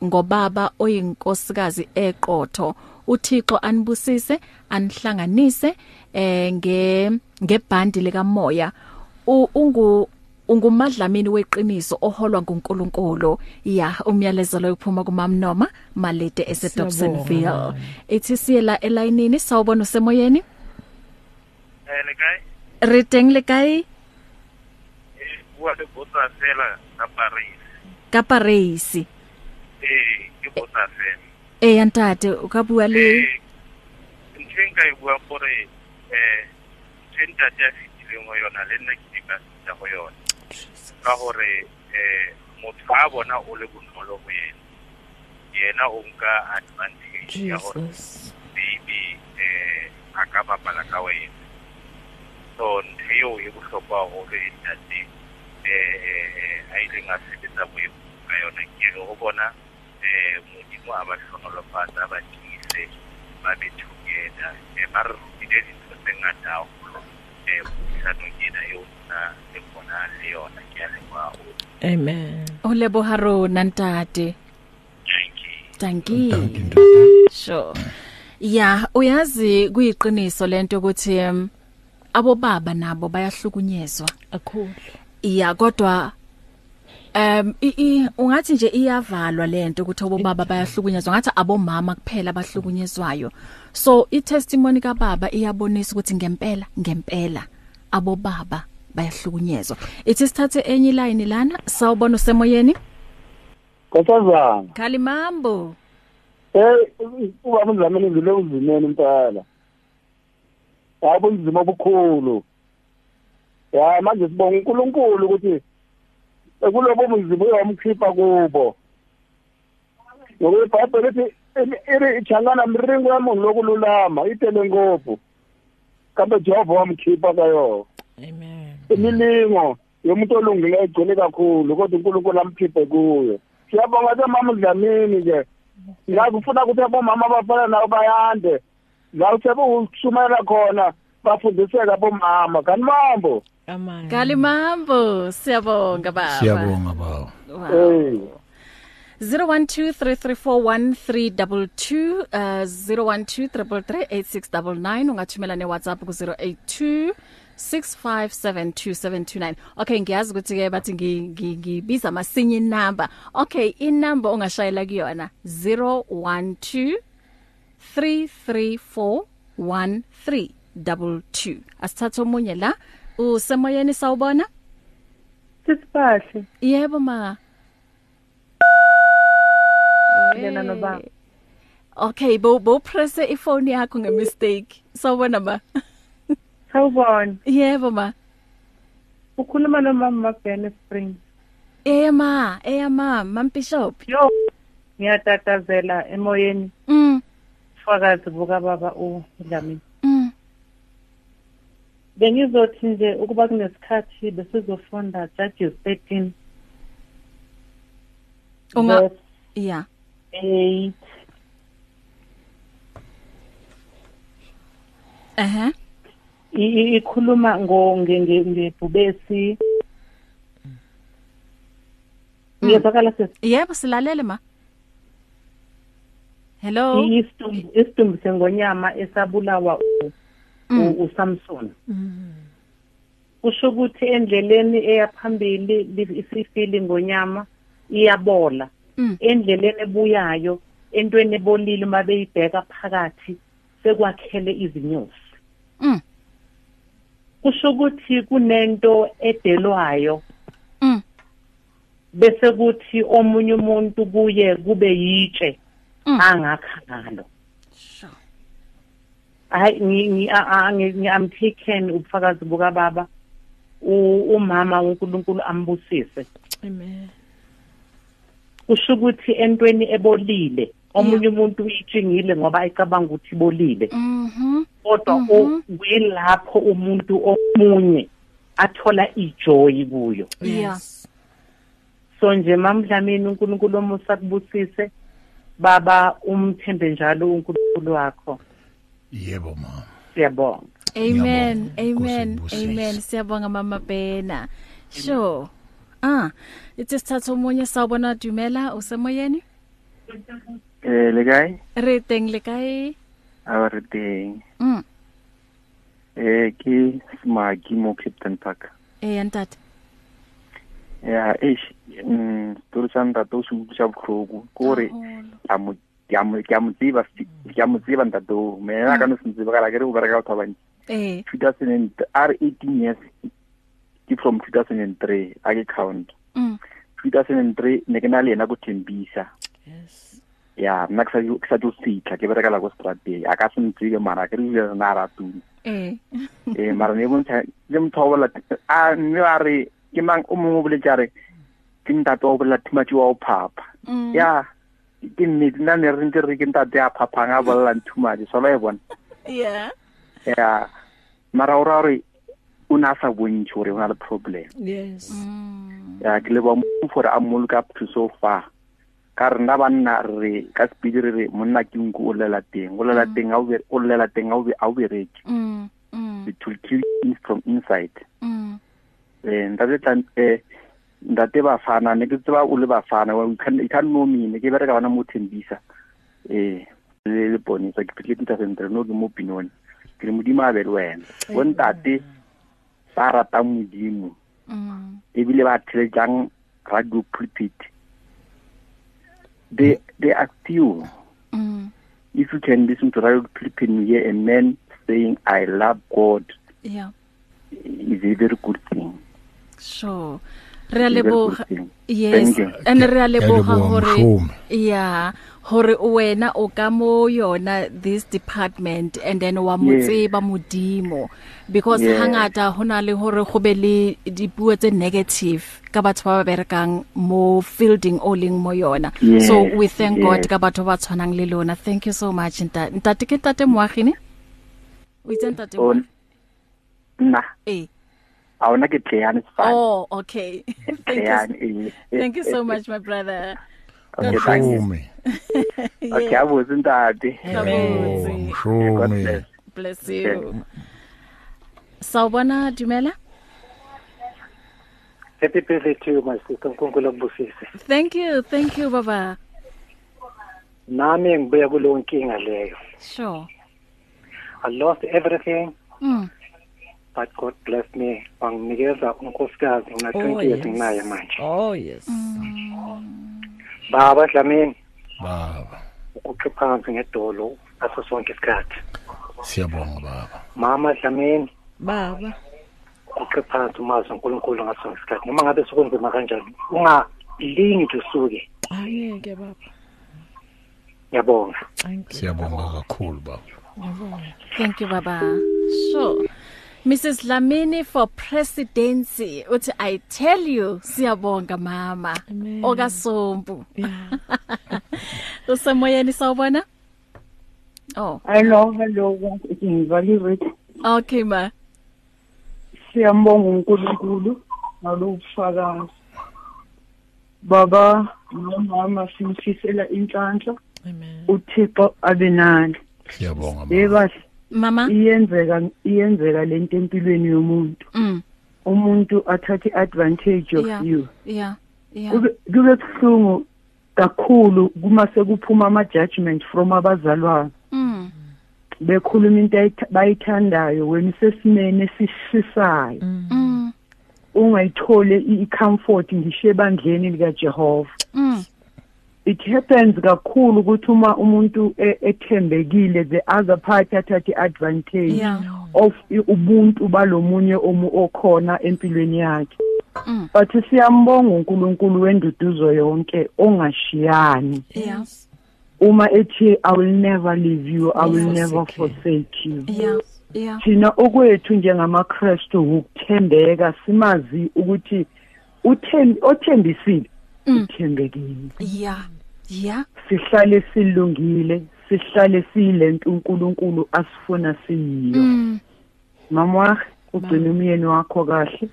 B: ngobaba oyinkosikazi eqotho uThixo anibusise anihlanganise eh nge ngebhandi likamoya U- ungu ungumadlamini weqiniso oholwa nguNkulunkulu ya umyalezo lo uphuma kumamnoma malete esedobsonville ithi siyela elayinini sawubona usemoyeni
E: Eh, le kae?
B: re teng le kae
E: Eh, bua le botsa fela ka Paris.
B: ka Paris
E: Eh, ke botsa fela.
B: e ya ntate o ka bua le
E: Eh, ntho e nka e buang gore eh ntho e ntate a fetileng go yona le nna ke ka feta go yona ka gore eh motho a bona o le bonolo go ena yena o nka advantage ya gore
C: jesus
E: maybe eh a ka bapala ka wena so ntho eo e bohlokwa haholo e ntate eh, eh eh, a ileng a sebetsa boemo ka yona ke re ho bona eh modimo a ba hlonolofatsa a ba tiise ba be together eh, ba re rutile dintho tse ngata haholo eh puisanong ena eo nna le bona le yona ke a leboha haholo
C: amen
B: o leboha rona ntate
E: thank you
B: danki sure ya uyazi kuyiqiniso lento ukuthi em, abobaba nabo bayahlukunyezwa
C: akhulu
B: iya kodwa em i- i- ungathi nje iyavalwa lento ukuthi obobaba bayahlukunyezwa ngathi abomama kuphela abahlukunyezwayo so i testimony kaBaba iyabonisa ukuthi ngempela ngempela abobaba bayahlukunyezwa ithi sithathe enye line lana sawubona usemoyeni
F: Khothazana.
B: khalimambo
F: Eh ubaba uzamele ngile uzimene impela. Yabo inzima obukhulu. Ya manje sibonga uNkulunkulu ukuthi ekulobo bunzima uyamkhipha kubo. Ngoba iBhayibheli lithi "I- iri ichangana mringo ya munhu lokululama itele ngopfu kambe Jehova wamkhipha ka yona.
C: amen
F: imilingo yomuntu olungileyo igcwele kakhulu kodwa uNkulunkulu amkhiphe kuyo siyabonga ke mama Dlamini ke ngakufuna ukuthi abomama abafana nawo bayande la uthebe ukushumayela khona bafundiseke abomama kanibambo
C: amen
B: khalimambo siyabonga baba
D: siyabonga baba
B: Wow.
F: eh
B: 0123341322 uh 0123338699 ungathumela neWhatsApp ku 082 6572729 okay ngiyazi ukuthi ke bathi ngi- ngi- ngibiza amasinye number okay inumber ongashayela kuyona 012 3341322 asithathe omunye la usemoyeni sawubona
G: Sisibahle
B: yebo ma
G: lena nobaba.
B: Eh. Okay, bo bo press iphone yakho nge mistake. Sawubona ma.
G: Sawubona.
B: Yebo ma.
G: Ukhuluma nomama Mabhene Spring.
B: Eh ma, eh ma, mampishop.
G: Yo. Ngiyatatazela emoyeni
B: Mm.
G: fakazi buka baba uDlamini.
B: Mm.
G: Bengizothi nje ukuba kunesikhathi besizofunda Judges 13
B: Unga
G: verse
B: yeah.
G: 8.
B: Eh.
G: I- i- ikhuluma ngo nge- nge- ngebhubesi.
B: Mm.
G: Ngiyazakala sesi.
B: Yebo silalele ma. Hello.
G: I- isidumbu isidumbu sengonyama esabulawa u-
B: Mm.
G: u- uSamson kusho ukuthi endleleni eyaphambili li- isifile ngonyama iyabola
B: Mm.
G: endleleni ebuyayo entweni ebolile uma beyibheka phakathi sekwakhele izinyosi
B: Mm.
G: kusho ukuthi kunento edelwayo
B: Mm.
G: bese kuthi omunye umuntu kuye kube yitshe
B: Mm.
G: angakhalo
B: Sure.
G: hayi ngi- ngi- a- a- ngi- ngi- I'm taken ubufakazi bukababa u- umama uNkulunkulu ambusise
C: amen
G: kusho ukuthi entweni ebolile omunye umuntu uyitshingile ngoba ayicabanga ukuthi ibolile
B: Mhm.
G: kodwa u-
H: Mhm.
G: kuyilapho umuntu omunye athola ijoy kuyo
B: Yeah.
G: so nje mamdlamini uNkulunkulu omusa kubusise baba umthembe njalo uNkulunkulu wakho
D: yebo mama
G: siyabonga
B: Amen.
D: Ngiyabonga.
B: Amen.
D: Nkosi ikubusise.
B: Amen. Siyabonga mama Bena. Sure. Ah, itse sithathe omunye sawubona Dumela usemoyeni.
I: Eh le kae?
B: Re teng le kae?
I: A re teng.
B: Mm.
I: Eh ke Smaki mo Cape Town Park.
B: Eh ntate.
I: Ya eish mm tlo tsanda to se utlwa bohloko kore
B: Oh.
I: a mo ya mo ya mo tsiba ya mo tsiba ntato me na ka no se tsiba ka ke re o bereka ka thaba
B: Eh.
I: 2000 r 18 years ke from 2003 a ke count
B: Mm.
I: 2003 ne ke na le yena go tembisa
C: yes
I: ya nna ke sa ke sa tlo fitla ke berekela go strateng a ka se ntsibe mara ke re na ratuna
B: Eh.
I: eh mara ne bontsha le motho o bola a mme a re ke mang o mongwe o boletse a re ke ntate wa o bolela thumatse wa o phapa
B: Mm.
I: ya ke nnete nna ne re ntse re ke ntate a phaphang a bolelang thumatse sola e bona
B: Yeah.
I: ya mara o ra gore o ne a sa bontšhe gore o na le problem
C: yes
B: Mm.
I: ya ke leba mmupo gore a mmoloka up to so far ka re nna banna re ka sepedi re re monna ke nku o llela teng o llela teng a o be- o llela teng a o be- a o bereke
B: Mm. Mm.
I: it will kill you from inside
B: Mm.
I: eh ntate tlan eh ntate bafana ne ke tseba o le bafana wa e ka no mine ke bereka bana mo thembisa eh le le pone tsa ke tlile tsa sentre no ke mo pinone ke le modimo a be le wena bo ntate ba rata modimo
B: Mm.
I: e bile ba thele jang radio pulpit they they active
B: Mm.
I: if you can listen to radio pulpit you hear a man saying i love god
B: Yeah.
I: is a very good thing
B: sure re a leboga
I: Very good thing.
B: yes
I: Thank you.
B: and re a leboga
D: leboga
B: gore
D: Mhlomi.
B: yeah gore wena o ka mo yona this department and then wa motseba modimo because
I: Yes.
B: hangata hona le hore go be le dipuo tse negative ka batho ba ba berekang mo fielding o leng mo yona
I: Yes,
B: so we thank god
I: yes.
B: ka batho ba tshwanang le lona thank you so much nta ntate ke ntate moagine o itse ntate
I: so
B: Moagi?
I: nna
B: eh
I: a ona ke tleyane sefane
B: oh okay *laughs* thank you so- Thank you so much, my brother.
I: eh, okay thank you
D: Mhlomi.
I: okay abotse ntate
D: Yebo,
B: Mhlomi.
I: god
D: Mhlomi.
I: bless
B: Bless you. Sawbona Dumela.
J: Happy birthday to you, my sister. Nkonkulu akubusise.
B: Thank you. Thank you baba.
J: Nami ngibuya kuleyo nkinga leyo.
B: Sure.
J: I lost everything,
B: Mm.
J: but God blessed me. Banginikeza unkosikazi ngina 20 years nginaye manje.
C: oh yes
B: Mm.
J: Baba Dlamini
D: Baba,
J: uqhe phansi ngedolo ngaso sonke isikhathi.
D: siyabonga baba.
J: Mama Dlamini
C: baba
J: uqhe phansi umazi uNkulunkulu ngaso sonke isikhathi. Noma ngabe sekunzima kanjani, ungalingi nje usuke.
C: angeke baba
J: Ngiyabonga.
C: angeke
D: Siyabonga kakhulu baba.
B: Thank you baba. Sure. Mrs Lamini for presidency. Uthi I tell you siyabonga mama.
C: Amen.
B: Okasompu.
C: yeah
B: *laughs* Usemoyeni sawbona? Oh,
H: hello hello ngivaliwe
B: okay ma.
H: siyambonga uNkulunkulu ngalokufakaza baba nomama simfisela inhlanhla
C: amen
H: uThixo abe nani
D: Siyabonga baba.
H: yebahle
G: Mhm.
B: Mama.
C: Mm.
H: iyenzeka iyenzeka lento empilweni yomuntu
B: Mm.
H: umuntu athathe advantage of
B: Yeah.
H: you
B: Yeah. Yeah.
H: Kube- kube buhlungu kakhulu kuma sekuphuma ama judgment from abazalwane
B: Mm.
H: bekhuluma into ayith- bayithandayo wena sesimene esisisayo
B: Mm.
H: ungayithole i- i-comfort ngisho ebandleni likaJehova
B: Mm.
H: it happens kakhulu ukuthi uma umuntu e- ethembekile the other party athathe advantage
B: Yeah.
H: of i- ubuntu balomunye omu okhona empilweni yakhe
B: Mm.
H: but siyambonga uNkulunkulu wenduduzo yonke ongashiyani
B: Yeah.
H: uma ethi i will never leave you i will
C: Yes,
H: never
C: okay.
H: forsake you
B: Yeah. Yeah.
H: thina okwethu njengamaKristu ukuthembeka simazi ukuthi uthem- othembisile
B: Mm.
H: uthembekile
B: Yeah. Yeah.
H: sihlale silungile sihlale siyilento uNkulunkulu asifuna siyiyo
B: Mm.
H: mama ugcina umyeni wakho kahle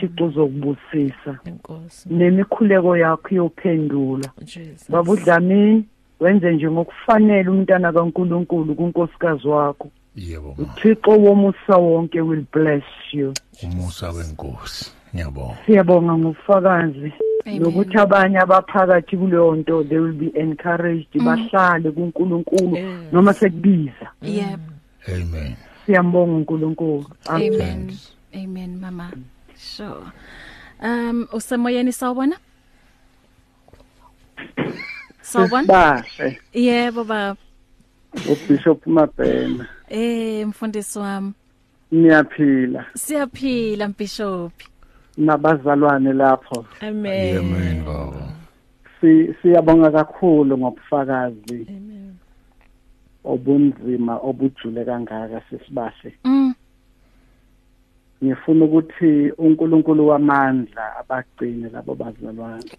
H: Thixo uzokubusisa
C: inkosi
H: nemikhuleko yakho iyophendula
C: jesus
H: baba uDlamini wenze nje ngokufanele umntana kaNkulunkulu kunkosikazi wakho
D: Yebo ma.
H: uThixo womusa wonke will bless you
D: Umusa wenkosi. Ngiyabonga.
H: siyabonga ngobufakazi
B: Amen.
H: nokuthi abanye abaphakathi kuleyo nto they will be encouraged bahlale kuNkulunkulu
C: Yes.
H: noma sekubiza
B: Yep.
D: Amen.
H: siyambonga uNkulunkulu Amen.
B: Amen. Amen mama. Sure. Um usemoyeni sawbona? Sawbona?
I: bahle
B: Yebo baba.
I: ubishop mabhena
B: Eh mfundisi wami.
I: niyaphila
B: Siyaphila mbishopi.
I: nabazalwane lapho
C: amen
D: Amen baba.
I: Si- siyabonga kakhulu ngobufakazi
C: amen
I: obunzima obujule kangaka sisibahle
B: Mm.
I: ngifuna ukuthi uNkulunkulu wamandla abagcine labo bazalwane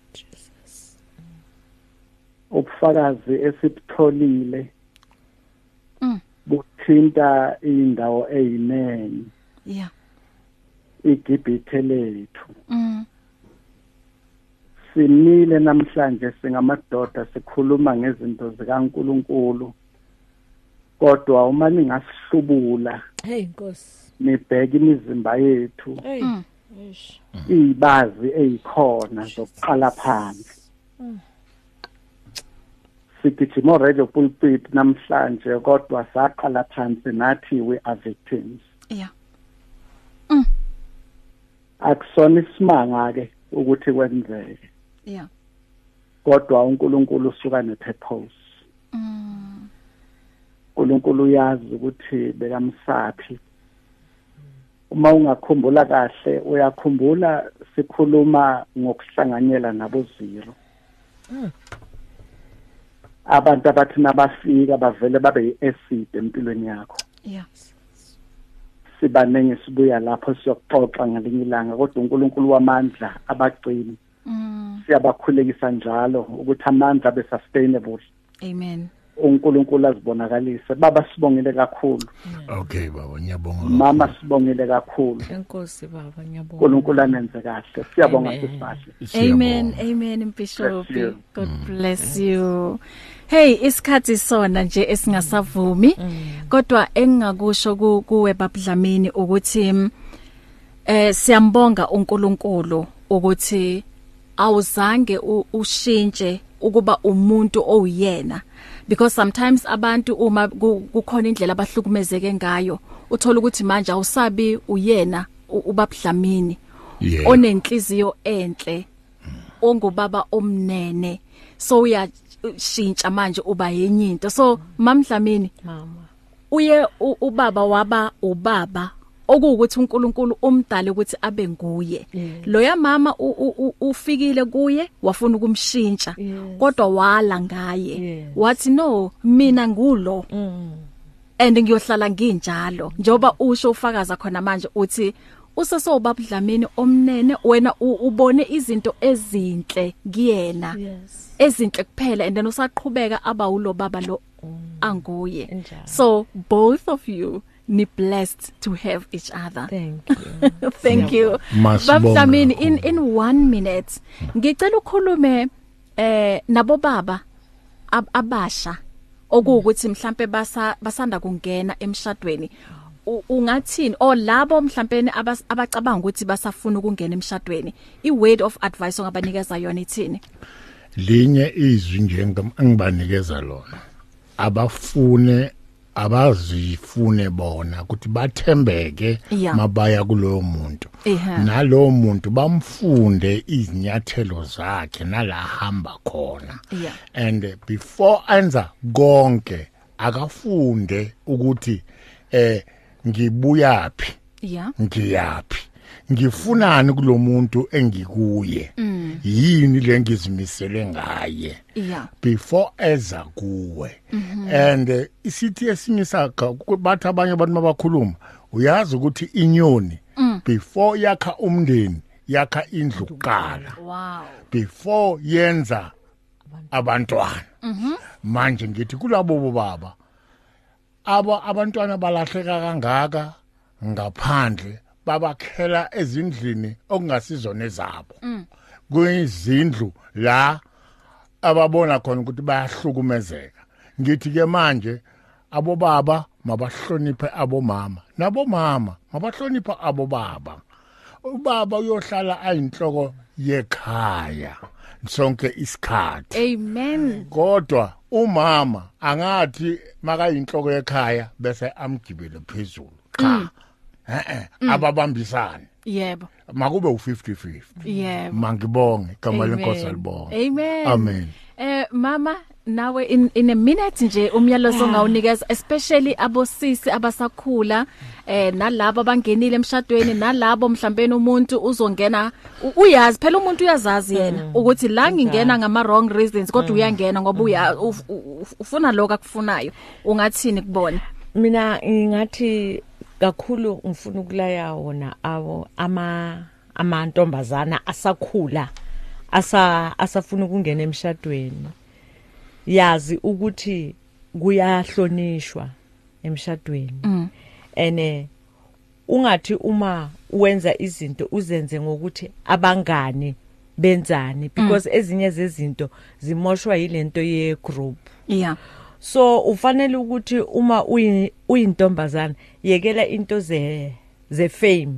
I: ubufakazi esibutholile
B: Mm.
I: buthinta indawo eyinene
B: Yeah.
I: igibhithe lethu
B: Mm.
I: simile namhlanje singamadoda sikhuluma ngezinto zikaNkuluNkulu kodwa uma ningasihlubula
C: hey inkosi
I: nibheke imizimba yethu
C: hey
B: Mm.
C: eish.
I: izibazi ezikhona zokuqala phansi sigijima oradio pulpit namhlanje kodwa saqala phansi nathi we are victims
B: Yeah.
I: akusona isimanga ke ukuthi kwenzeke
B: Yeah.
I: kodwa uNkulunkulu usuka nepurpose.
B: Mm.
I: uNkulunkulu uyazi ukuthi bekamsaphi
J: uma ungakhumbula kahle uyakhumbula sikhuluma ngokuhlanganyela nabo zero abantu abathi nabafika bavele babe yi-acid empilweni yakho
B: yeah
J: sibaningi sibuya lapho siyokuxoxa ngelinye ilanga kodwa unkulunkulu wamandla abagcini
B: mm
J: siyabakhulekisa njalo ukuthi amandla abe sustainable
B: amen
J: unkulunkulu azibonakalise baba sibongile kakhulu
D: okay baba ngiyabonga
J: mama sibongile kakhulu
C: enkosi baba
J: unkulunkulu amenze kahle siyabonga
C: Amen.
J: sisibahle
B: Amen amen Bishop
J: Bless you.
B: God bless you Hey isikhathi sona nje esingasavumi
J: Mm.
B: kodwa engingakusho ku- kuwe babudlamini ukuthi mm, eh siyambonga uNkulunkulu ukuthi awuzange u- ushintshe ukuba umuntu oyena because sometimes abantu uma ku- kukhona indlela abahlukumezeke ngayo uthola ukuthi manje awusabi uyena u- ubabudlamini
D: Yeah.
B: onenhliziyo enhle ongubaba omnene so uya shintsha manje uba yenye into so mamdlamini
C: mama
B: uye u- ubaba waba ubaba okuwukuthi uNkulunkulu umdala ukuthi abe nguye
C: Yes.
B: loya mama u- u- u- ufikile kuye wafuna ukumshintsha
C: Yes.
B: kodwa wala ngaye
C: Yes. Mm.
B: wathi no mina ngulo and ngiyohlala nginjalo njoba usho ufakaza khona manje uthi usesobabudlamini omnene wena u- ubone izinto ezinhle kuyena
C: yes
B: ezinhle kuphela and then usaqhubeka aba ulo baba lo
C: Mm.
B: anguye
C: Injalo.
B: so both of you ni blessed to have each other
C: thank you
B: *laughs* thank you
D: Masibonge
B: babudlamini
D: kakhulu.
B: in in 1 minute ngicela ukukhulume eh nabo baba ab- abasha okuwukuthi mhlambe basa basanda kungena emshadweni U- ungathini o labo mhlawumbe abacabanga ukuthi basafuna ukungena emshadweni i word of advice ongabanikeza yona ithini
D: linye izwi nje ngam- engibanikeza lona abafune abazifune bona ukuthi bathembeke
B: Yeah.
D: mabaya kulowo muntu
B: Ehe.
D: nalowo muntu bamfunde izinyathelo zakhe nalahamba khona
B: Yeah.
D: and eh, before enza konke akafunde ukuthi eh ngibuyaphi
B: yeah
D: ngiyapi ngifunani kulomuntu engikuye yini lengizimisele ngaye
B: yeah
D: before eza kuwe and eh, isithi esimisa bathi abanye abantu mabakhuluma uyazi ukuthi inyoni before yakha umndeni yakha indlu kuqala
B: wow
D: before yenza abantwana manje ngithi kulabo bobaba aba abantwana balahleka kangaka ngaphandle babakhela ezindlini okungasizona ezabo kuyizindlu la ababona khona ukuthi bayahlukumezeka ngithi ke manje abobaba mabahloniphe abomama nabomama mabahloniphe abobaba ubaba uyohlala ayinhloko yekhaya sonke isikhathi
B: amen
D: kodwa umama angathi makayinhloko yekhaya bese amgibele phezulu
B: Mm.
D: cha eh eh ababambisani
B: yebo
D: makube u50-50
B: yebo
D: mangibonge igama
B: Amen.
D: lenkosi alibonge
B: Amen.
D: Amen.
B: Eh mama nawe in in a minute nje umyalezo ngawunikeza especially abosisi abasakhula eh nalabo abangenile emshadweni nalabo mhlambeni umuntu uzongena u- uyazi phela umuntu uyazazi yena ukuthi la ngingena ngama wrong reasons kodwa uyangena ngoba uya uf- u- u- ufuna lokho akufunayo ungathini kubona
C: mina ngingathi kakhulu ngifuna ukulaya wona awo ama amantombazana asakhula asa asafuna ukungena emshadweni yazi ukuthi kuyahlonishwa emshadweni ene ungathi uma wenza izinto uzenze ngokuthi abangani benzani because ezinye zezinto zimoshwa yilento ye group
B: yeah
C: so ufanele ukuthi uma uyi- uyintombazana yekela into ze ze fame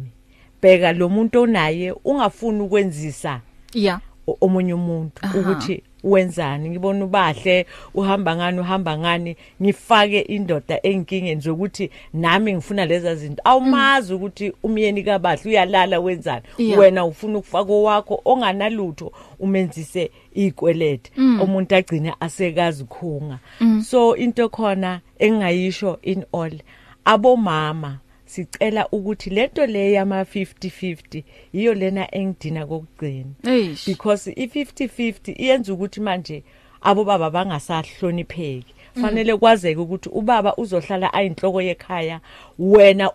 C: bheka lo muntu onaye ungafuni ukwenzisa
B: yeah
C: o- omunye umuntu ukuthi wenzani ngibona ubahle uhamba ngani uhamba ngani ngifake indoda enkingeni zokuthi nami ngifuna leza zinto awumazi ukuthi umyeni kabahle uyalala wenzani
B: Yeah.
C: wena ufuna ukufaka owakho onganalutho umenzise ikwelete umuntu agcine asekazi khunga so into khona engayisho in all abomama sicela ukuthi lento le yama 50-50 yiyo lena engidina kokugcina
B: Eish.
C: because i50-50 iyenza ukuthi manje abobaba bangasahlonipheki fanele kwazeke ukuthi ubaba uzohlala ayinhloko yekhaya wena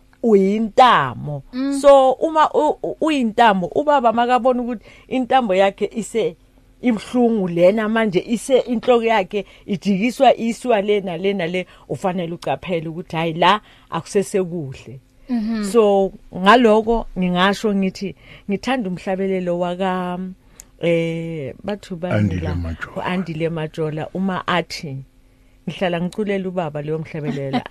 C: uyintamo so uma u- u- uyintamo ubaba makabona ukuthi intamo yakhe ise ibhlungu lena manje ise inhloko yakhe ijikiswa iswa lena lena le ufanele ucaphele ukuthi hayi la akusese kuhle
B: Mm-hmm.
C: so ngaloko ngingasho ngithi ngithanda umhlabelelo waka eh bathu
D: Andile
C: banila
D: Majola.
C: uAndile Majola uma athi ngihlala ngiculela ubaba leyo mhlabelela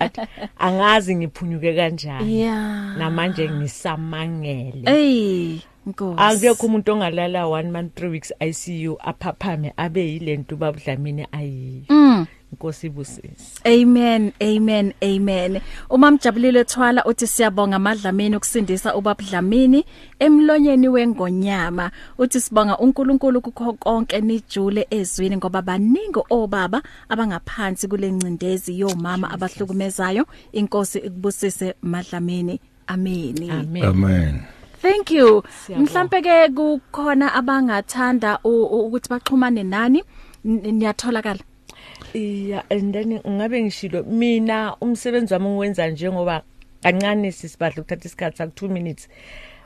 B: *laughs*
C: athi angazi ngiphunyuke kanjani
B: Yeah.
C: namanje ngisamangele
B: Ey, Nkosi.
C: akekho umuntu ongalala 1 month 3 weeks ICU aphaphame abe yilento babudlamini ayiyo
B: Mm.
C: inkosi ibusisi
B: Amen, amen, amen. Umamjabulile Thwala uthi siyabonga amadlamini ukusindisa ubabudlamini emlonyeni wengonyama. Uthi sibonga uNkulunkulu kukho konke nijule ezwini ngoba baningi obaba abangaphansi kulencindezi yomama abahlukumezayo. Inkosi ikubusise madlamini. Amen.
C: amen
D: amen
B: Thank you.
C: Siyabonga.
B: Mhlambe ke kukhona abangathanda u- u- ukuthi baxhumane nani? N- Niyatholakala.
C: iya and then ngabe ngishilo mina umsebenzi wami ngiwenza njengoba kancane sisibadla ukuthatha isikhathi sak2 minutes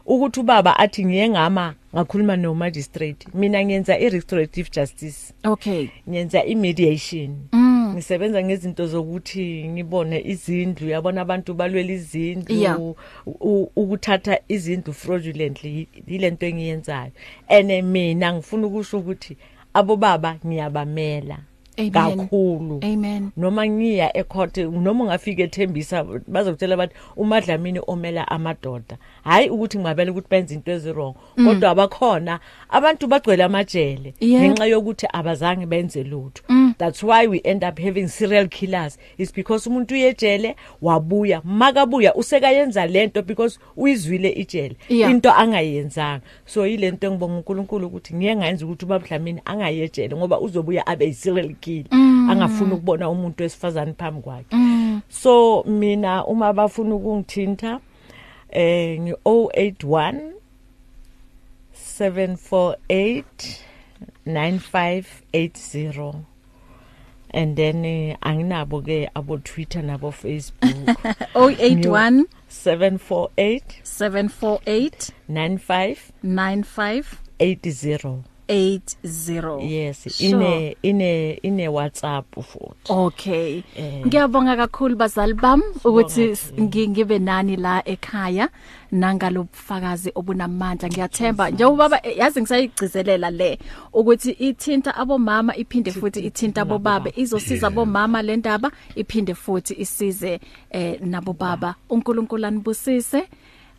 C: ukuthi ubaba athi ngiye ngama ngakhuluma no magistrate mina ngiyenza i-restorative justice
B: Okay.
C: ngiyenza i-mediation mm. ngisebenza ngezinto zokuthi ngibone izindlu yabona abantu balwela izindlu
B: Yeah.
C: u- u- ukuthatha izindlu fraudulently yile nto engiyenzayo and mina ngifuna ukusho ukuthi abobaba ngiyabamela
B: Amen.
C: kakhulu
B: Amen.
C: noma ngiya ecourt noma ungafika ethembisa bazokutshela bathi umadlamini omela amadoda hayi ukuthi ngibabele ukuthi benze into ezirong kodwa abakhona abantu bagcwele amajele
B: Yebo.
C: ngenxa yokuthi abazange benze lutho that's why we end up having serial killers is because umuntu uyejele wabuya makabuya usekayenza lento because uyizwile ijele
B: Yeah.
C: into angayenzanga so yilento engibonga uNkulunkulu ukuthi ngiye ngayenza ukuthi ubamhlamini angayejele ngoba uzobuya abe yiserial killer angafuni ukubona umuntu wesifazane phambi kwakhe so mina uma bafuna ukungithinta eh ngi 081 748 9580 and then eh, anginabo ke abo Twitter nabo
B: *laughs*
C: Facebook
B: 081
C: 748
B: 748
C: 9580
B: 9580
C: yes
B: Sure.
C: ine ine ine WhatsApp futhi
B: okay
C: Eh.
B: ngiyabonga kakhulu bazali bami ukuthi s-
C: thina.
B: ngi- ngibe nani la ekhaya nangalobufakazi obunamandla ngiyathemba njengoba ba- yazi ngisayigcizelela le ukuthi ithinta abomama iphinde futhi ithinta bobaba izosiza bomama le ndaba iphinde futhi isize eh nabo baba uNkulunkulu anibusise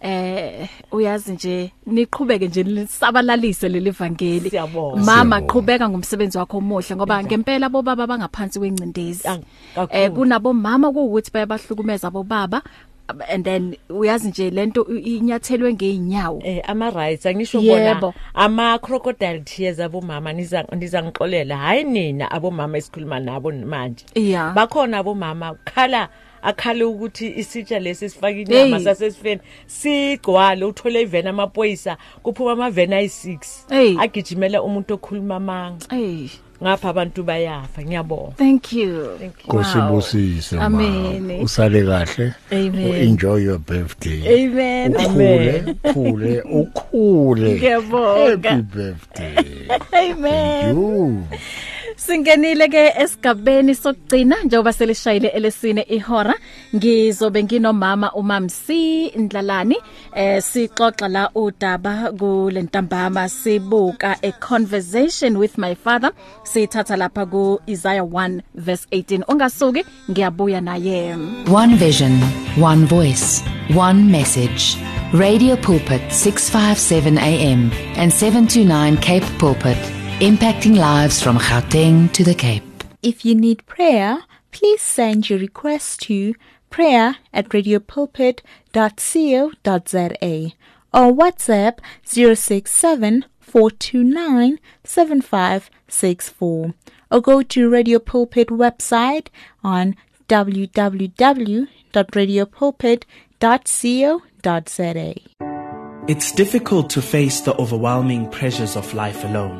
B: eh uyazi nje niqhubeke nje lisabalalise leli vangeli
C: Siyabonga.
B: mama
D: Siyabonga.
B: qhubeka ngomsebenzi wakho omuhle ngoba ngempela bobaba bangaphansi kwencindezi
C: Ah, kakhulu.
B: eh kunabo mama kuwukuthi bayabahlukumeza bobaba ab- and then uyazi nje lento i- inyathelwe ngeenyawo
C: eh ama rights angisho
B: Yebo.
C: bona ama crocodile tears abomama niza nizangixolela hayi nina abomama esikhuluma nabo manje
B: Yeah.
C: bakhona abomama khala akhale ukuthi isitsha lesi sifaka
B: Hey.
C: inyama sasesifeni sigcwala uthole ivena amapoyisa kuphuma amavena
B: Hey.
C: ayi6 agijimela umuntu okhuluma amanga
B: hey
C: ngapha abantu bayafa ngiyabonga
B: thank you
D: Nkosi
B: Wow.
D: ibusise ma.
B: Amen.
D: usale kahle
B: Amen.
D: enjoy your birthday
B: amen
D: ukhule ukhule ukhule
B: Ngiyabonga.
D: happy birthday
B: amen
D: you
B: Singenile ke esigabeni sokugcina njengoba selishayile elesine ihora ngizobe nginomama uMamsi Ndlalani eh sixoxa la udaba kulentambama sibuka a conversation with my father sithatha lapha ku Isaiah 1 verse 18 ungasuki ngiyabuya naye
K: One vision, one voice, one message. Radio Pulpit 657 AM and 729 Cape Pulpit, impacting lives from Gauteng to the Cape.
L: If you need prayer, please send your request to prayer at radiopulpit.co.za or WhatsApp 067 429 7564 or go to Radio Pulpit website on www.radiopulpit.co.za prayer.co.za.
M: It's difficult to face the overwhelming pressures of life alone.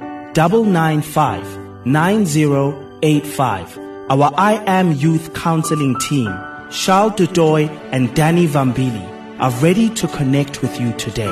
M: 995 9085. Our I Am Youth Counseling team, Charles Dudoy and Danny Vambili, are ready to connect with you today.